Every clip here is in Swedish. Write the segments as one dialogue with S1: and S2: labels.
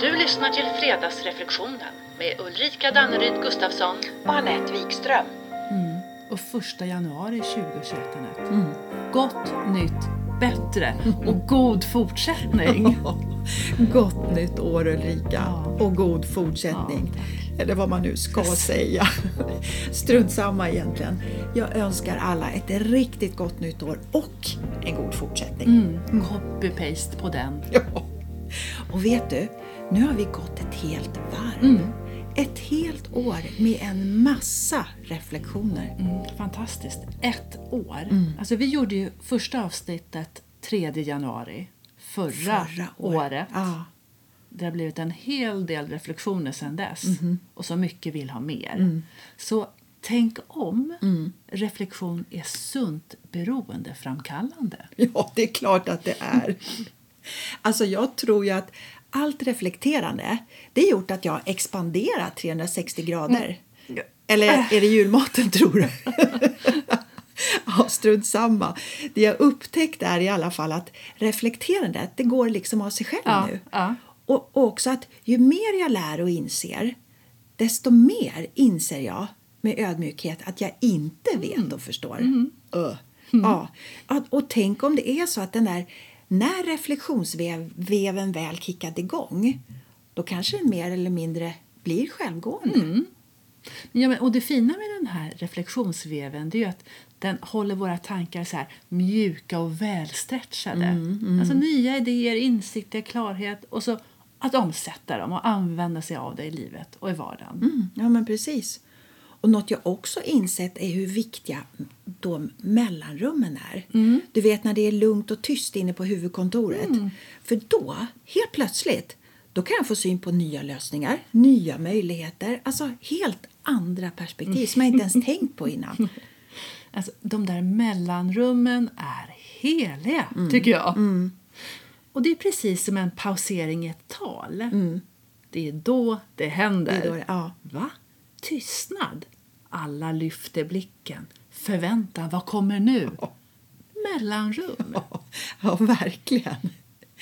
S1: Du lyssnar till Fredagsreflektionen med Ulrika Danneryd Gustafsson
S2: och Anette Wikström.
S3: Mm. Och första januari 2021, Anette. Mm. Gott nytt, bättre och god fortsättning.
S2: Gott nytt år Ulrika ja. och god fortsättning. Ja, Eller vad man nu ska säga. Strunt samma egentligen. Jag önskar alla ett riktigt gott nytt år och en god fortsättning. Mm.
S3: mm. Copy-paste på den.
S2: Ja. Och vet du, nu har vi gått ett helt varv. Mm. Ett helt år med en massa reflektioner.
S3: Mm, fantastiskt. Ett år. Mm. Alltså vi gjorde ju första avsnittet 3 januari förra, förra år. året. Ah. Det har blivit en hel del reflektioner sedan dess mm. och så mycket vill ha mer. Så tänk om. Reflektion är sunt beroendeframkallande.
S2: Ja, det är klart att det är. Alltså jag tror ju att allt reflekterande det har gjort att jag expanderat 360 grader. Mm. Eller är det julmaten tror du? ja, strunt samma. Det jag upptäckt är i alla fall att reflekterandet det går liksom av sig själv ja, nu. Ja. Och, och också att ju mer jag lär och inser desto mer inser jag med ödmjukhet att jag inte vet mm. och förstår. Mm. Uh. Ja. Och tänk om det är så att den där när reflektionsveven väl kickade igång då kanske den mer eller mindre blir självgående. Mm.
S3: Ja, men, och det fina med den här reflektionsveven det är att den håller våra tankar så här, mjuka och välstretchade. Mm, mm. Alltså nya idéer, insikter, klarhet och så att omsätta dem och använda sig av det i livet och i vardagen.
S2: Mm. ja, men precis. Och något jag också insett är hur viktiga de mellanrummen är. Mm. Du vet när det är lugnt och tyst inne på huvudkontoret. Mm. För då, helt plötsligt, då kan jag få syn på nya lösningar, nya möjligheter, alltså helt andra perspektiv mm. som jag inte ens tänkt på innan.
S3: Alltså, de där mellanrummen är heliga, tycker jag.
S2: Mm.
S3: Och det är precis som en pausering i ett tal. Det är då det händer.
S2: Mm. Det då det, ja.
S3: Va? tystnad. Alla lyfter blicken. Förväntan, vad kommer nu? Ja. Mellanrum.
S2: Ja, ja verkligen.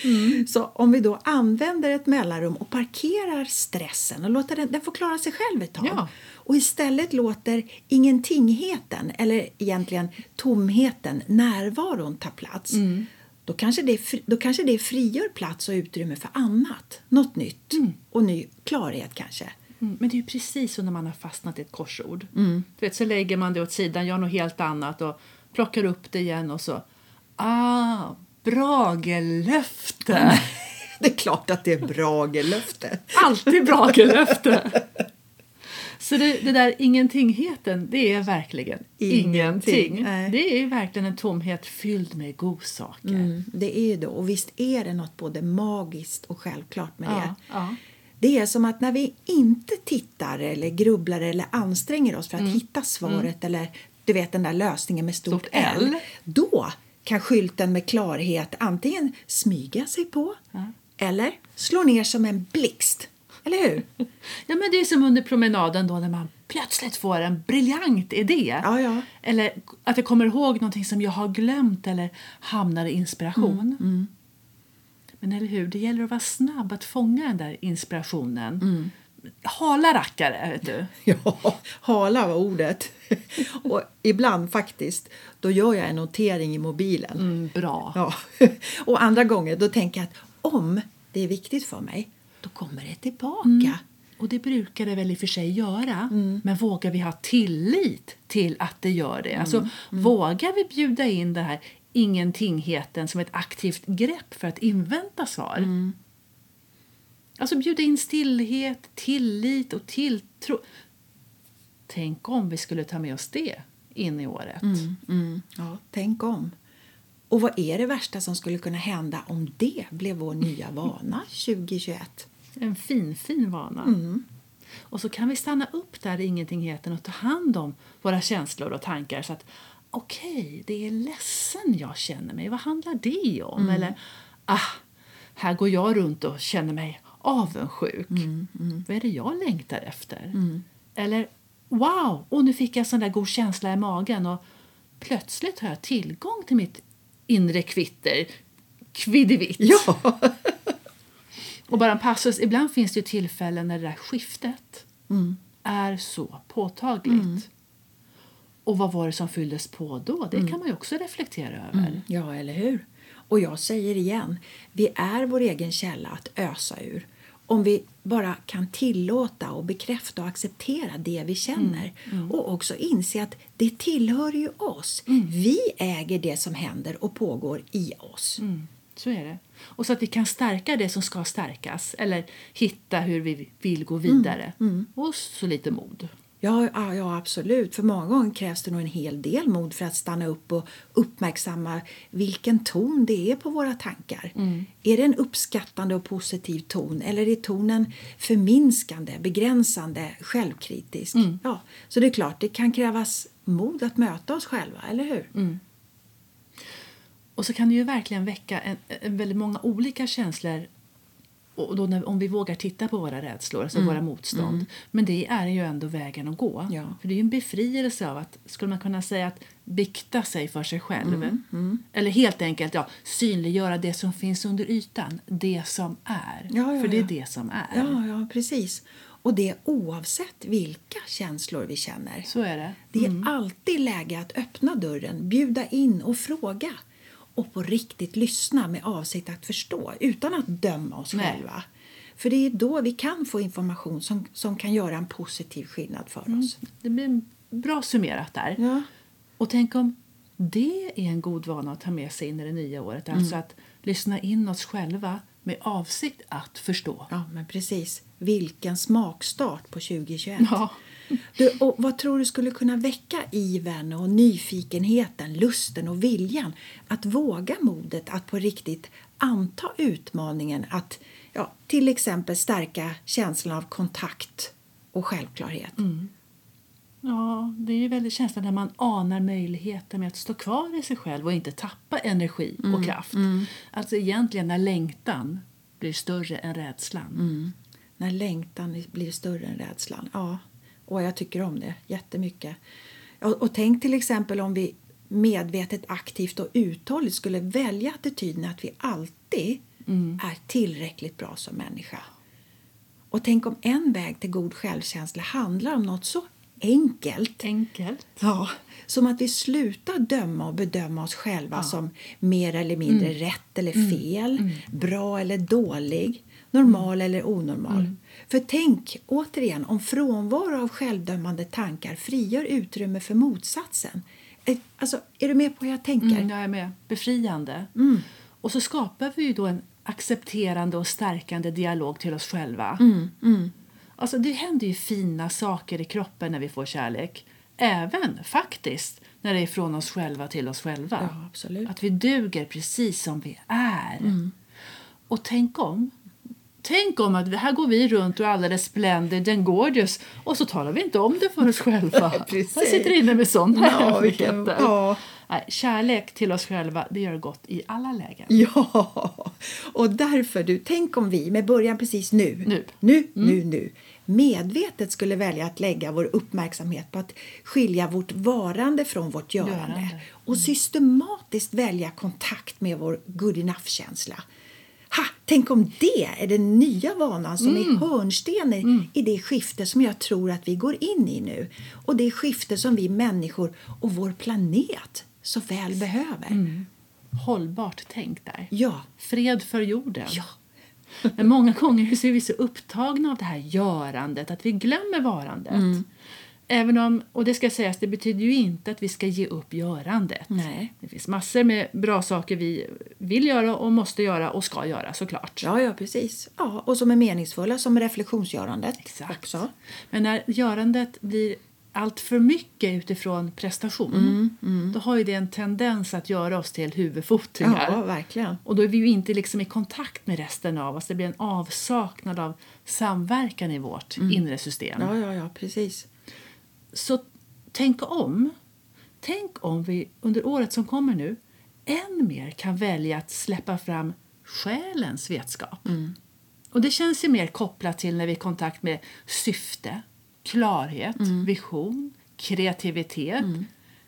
S2: Mm. Så om vi då använder ett mellanrum och parkerar stressen och låter den, den få klara sig själv ett tag ja. och istället låter ingentingheten, eller egentligen tomheten, närvaron ta plats mm. då, kanske det, då kanske det frigör plats och utrymme för annat, något nytt mm. och ny klarhet kanske.
S3: Mm, men det är ju precis som när man har fastnat i ett korsord. Mm. För vet, så lägger man det åt sidan, gör något helt annat och plockar upp det igen och så... Ah, Bragelöfte!
S2: det är klart att det är Bragelöfte.
S3: Alltid Bragelöfte! Så det, det, där ingentingheten, det är verkligen ingenting. ingenting. Det är verkligen en tomhet fylld med godsaker. Mm,
S2: det är ju det. Och visst är det något både magiskt och självklart med ja, det. Ja. Det är som att när vi inte tittar eller grubblar eller anstränger oss för att mm. hitta svaret mm. eller du vet den där lösningen med stort, stort L, L, då kan skylten med klarhet antingen smyga sig på mm. eller slå ner som en blixt. Eller hur?
S3: ja, men det är som under promenaden då när man plötsligt får en briljant idé.
S2: Ja, ja.
S3: Eller att jag kommer ihåg någonting som jag har glömt eller hamnar i inspiration. Men eller hur, det gäller att vara snabb att fånga den där inspirationen. Mm. Hala rackare, vet du.
S2: Ja, hala var ordet. Och ibland faktiskt, då gör jag en notering i mobilen.
S3: Mm, bra.
S2: Ja. Och andra gånger då tänker jag att om det är viktigt för mig, då kommer det tillbaka. Mm.
S3: Och det brukar det väl i och för sig göra. Mm. Men vågar vi ha tillit till att det gör det? Alltså, vågar vi bjuda in det här ingentingheten som ett aktivt grepp för att invänta svar. Mm. Alltså bjuda in stillhet, tillit och tilltro. Tänk om vi skulle ta med oss det in i året.
S2: Mm, mm. Ja, tänk om. Och vad är det värsta som skulle kunna hända om det blev vår nya vana 2021?
S3: En fin, fin vana. Och så kan vi stanna upp där i ingentingheten och ta hand om våra känslor och tankar så att okej, det är ledsen jag känner mig. Vad handlar det om? Mm. Eller, ah, här går jag runt och känner mig avundsjuk. Mm, mm. Vad är det jag längtar efter? Eller, wow, och nu fick jag en sån där god känsla i magen och plötsligt har jag tillgång till mitt inre kvitter, kviddevitt.
S2: Ja.
S3: Och bara en passus, ibland finns det ju tillfällen när det där skiftet Mm. är så påtagligt. Och vad var det som fylldes på då? Det kan man ju också reflektera över.
S2: Mm. Ja, eller hur? Och jag säger igen, vi är vår egen källa att ösa ur. Om vi bara kan tillåta och bekräfta och acceptera det vi känner och också inse att det tillhör ju oss. Vi äger det som händer och pågår i oss.
S3: Mm, så är det. Och så att vi kan stärka det som ska stärkas eller hitta hur vi vill gå vidare. Och så lite mod.
S2: Ja, ja, ja, absolut. För många gånger krävs det nog en hel del mod för att stanna upp och uppmärksamma vilken ton det är på våra tankar. Är det en uppskattande och positiv ton eller är tonen förminskande, begränsande, självkritisk? Ja, så det är klart, det kan krävas mod att möta oss själva, eller hur?
S3: Och så kan det ju verkligen väcka en, en väldigt många olika känslor och då när, om vi vågar titta på våra rädslor, alltså
S2: Mm.
S3: våra motstånd. Men det är ju ändå vägen att gå.
S2: Ja.
S3: För det är ju en befrielse av att, skulle man kunna säga att bikta sig för sig själv.
S2: Mm.
S3: Eller helt enkelt ja, synliggöra det som finns under ytan, det som är.
S2: Ja, ja,
S3: för det är
S2: ja.
S3: det som är.
S2: Ja, ja, precis. Och det oavsett vilka känslor vi känner.
S3: Så är det.
S2: Det är alltid läge att öppna dörren, bjuda in och fråga och på riktigt lyssna med avsikt att förstå utan att döma oss
S3: Nej.
S2: själva. För det är då vi kan få information som, som kan göra en positiv skillnad för oss.
S3: Det blir bra summerat där.
S2: Ja.
S3: Och tänk om det är en god vana att ta med sig in i det nya året. Alltså att lyssna in oss själva med avsikt att förstå.
S2: Ja, men precis. Vilken smakstart på 2021.
S3: Ja.
S2: Du, och vad tror du skulle kunna väcka ivern och nyfikenheten, lusten och viljan att våga modet att på riktigt anta utmaningen att ja, till exempel stärka känslan av kontakt och självklarhet?
S3: Ja, det är ju väldigt känslan när man anar möjligheten med att stå kvar i sig själv och inte tappa energi och kraft. Alltså egentligen när längtan blir större än rädslan.
S2: När längtan blir större än rädslan. Ja, och jag tycker om det jättemycket. Och, och tänk till exempel om vi medvetet, aktivt och uthålligt skulle välja attityden att vi alltid är tillräckligt bra som människa. Och tänk om en väg till god självkänsla handlar om något så enkelt
S3: Enkelt.
S2: Ja, som att vi slutar döma och bedöma oss själva som mer eller mindre rätt eller fel, bra eller dålig, normal eller onormal. För tänk återigen om frånvaro av självdömande tankar frigör utrymme för motsatsen. Eh, Alltså, är du med på hur jag tänker?
S3: Mm, jag är med. Befriande.
S2: Mm.
S3: Och så skapar vi ju då en accepterande och stärkande dialog till oss själva.
S2: Mm,
S3: Alltså det händer ju fina saker i kroppen när vi får kärlek. Även faktiskt när det är från oss själva till oss själva.
S2: Ja, absolut. Mm.
S3: Att vi duger precis som vi är. Och tänk om. Tänk om att vi- här går vi runt och är alldeles splendid and gorgeous och så talar vi inte om det för oss själva.
S2: precis.
S3: Här sitter inne med sådana
S2: Ja, vilken-
S3: hemligheter.
S2: ja.
S3: Nej, kärlek till oss själva, det gör gott i alla lägen.
S2: Ja, och därför du, tänk om vi med början precis nu,
S3: Nu. Mm.
S2: nu, nu, nu medvetet skulle välja att lägga vår uppmärksamhet på att skilja vårt varande från vårt görande,
S3: Görande. Mm.
S2: och systematiskt välja kontakt med vår good enough-känsla. Ha, tänk om det är den nya vanan som
S3: Mm.
S2: är hörnstenen i det skifte som jag tror att vi går in i nu och det skifte som vi människor och vår planet så väl behöver.
S3: Mm. Hållbart tänk där.
S2: Ja,
S3: Fred för jorden.
S2: Ja.
S3: Men många gånger så är vi så upptagna av det här görandet att vi glömmer varandet.
S2: Mm.
S3: Även om, och det ska sägas, det betyder ju inte att vi ska ge upp görandet.
S2: Nej.
S3: Det finns massor med bra saker vi vill göra och måste göra och ska göra såklart.
S2: Ja, ja precis. Ja, och som är meningsfulla, som reflektionsgörandet
S3: Exakt.
S2: också.
S3: Men när görandet blir allt för mycket utifrån prestation
S2: Mm,
S3: då har ju det en tendens att göra oss till huvudfotingar.
S2: Ja, verkligen.
S3: Och då är vi ju inte liksom i kontakt med resten av oss. Det blir en avsaknad av samverkan i vårt inre system.
S2: Mm. Ja, ja, ja, precis.
S3: Så tänk om. Tänk om vi under året som kommer nu än mer kan välja att släppa fram själens vetskap. Och det känns ju mer kopplat till när vi är i kontakt med syfte, klarhet, vision, kreativitet,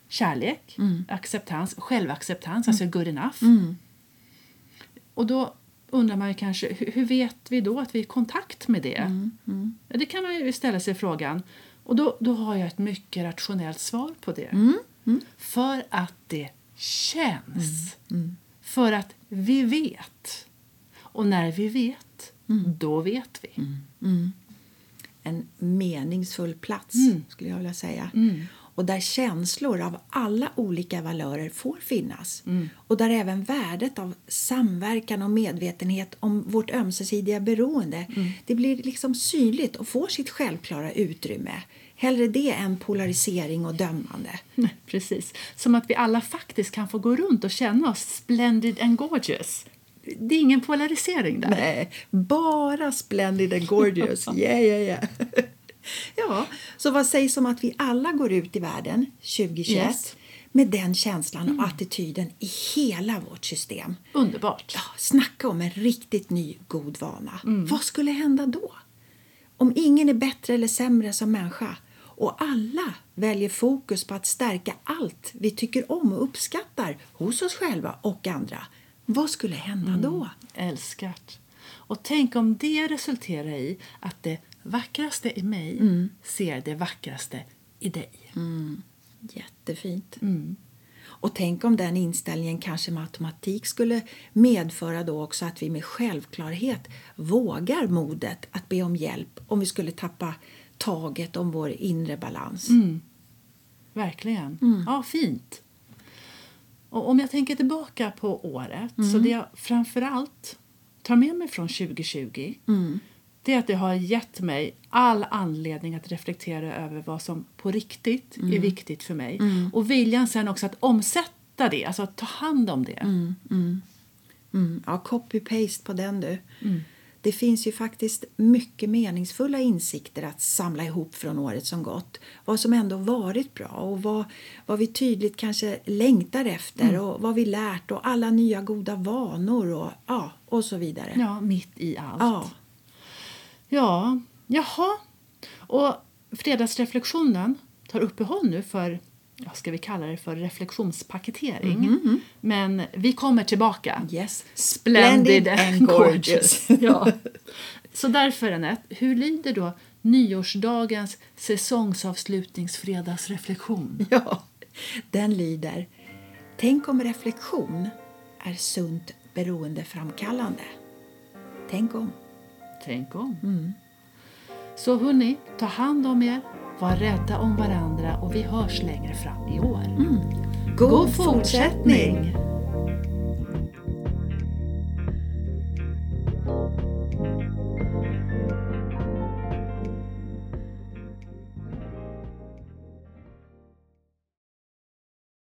S3: kärlek, acceptans, självacceptans, alltså good enough. Och då undrar man ju kanske hur, hur vet vi då att vi är i kontakt med det? Det kan man ju ställa sig frågan. Och då, då har jag ett mycket rationellt svar på det. För att det känns. För att vi vet. Och när vi vet, då vet vi.
S2: en meningsfull plats, skulle jag vilja säga. Och där känslor av alla olika valörer får finnas. Och där även värdet av samverkan och medvetenhet om vårt ömsesidiga beroende det blir liksom synligt och får sitt självklara utrymme. Hellre det än polarisering och dömande.
S3: Nej, Precis. Som att vi alla faktiskt kan få gå runt och känna oss splendid and gorgeous. Det är ingen polarisering där.
S2: Nej, bara splendid and gorgeous. Yeah, yeah, yeah. ja, så vad sägs om att vi alla går ut i världen 2021
S3: Yes.
S2: med den känslan och attityden i hela vårt system?
S3: Underbart.
S2: Ja, snacka om en riktigt ny god vana.
S3: Mm.
S2: Vad skulle hända då? Om ingen är bättre eller sämre som människa och alla väljer fokus på att stärka allt vi tycker om och uppskattar hos oss själva och andra. Vad skulle hända
S3: Mm.
S2: då?
S3: Älskat. Och tänk om det resulterar i att det vackraste i mig ser det vackraste i dig.
S2: Jättefint. Och tänk om den inställningen kanske med automatik skulle medföra då också att vi med självklarhet vågar modet att be om hjälp om vi skulle tappa taget om vår inre balans.
S3: Verkligen. Ja, fint. Och om jag tänker tillbaka på året, så det jag framförallt tar med mig från 2020 det är att det har gett mig all anledning att reflektera över vad som på riktigt är viktigt för mig. Och viljan sen också att omsätta det, alltså att ta hand om det.
S2: Mm, ja, copy-paste på den du. Det finns ju faktiskt mycket meningsfulla insikter att samla ihop från året som gått. Vad som ändå varit bra och vad, vad vi tydligt kanske längtar efter och vad vi lärt och alla nya goda vanor och, ja, och så vidare.
S3: Ja, mitt i allt.
S2: Ja.
S3: Ja, jaha. Och fredagsreflektionen tar uppehåll nu för, ja, ska vi kalla det för reflektionspaketering. Men vi kommer tillbaka.
S2: Yes.
S3: Splendid and gorgeous.
S2: gorgeous.
S3: ja. Så därför Anette, hur lyder då nyårsdagens säsongsavslutningsfredagsreflektion?
S2: Ja, den lyder Tänk om reflektion är sunt beroendeframkallande. Tänk om.
S3: Tänk om. Så hörni, ta hand om er, var rädda om varandra och vi hörs längre fram i år.
S2: God fortsättning!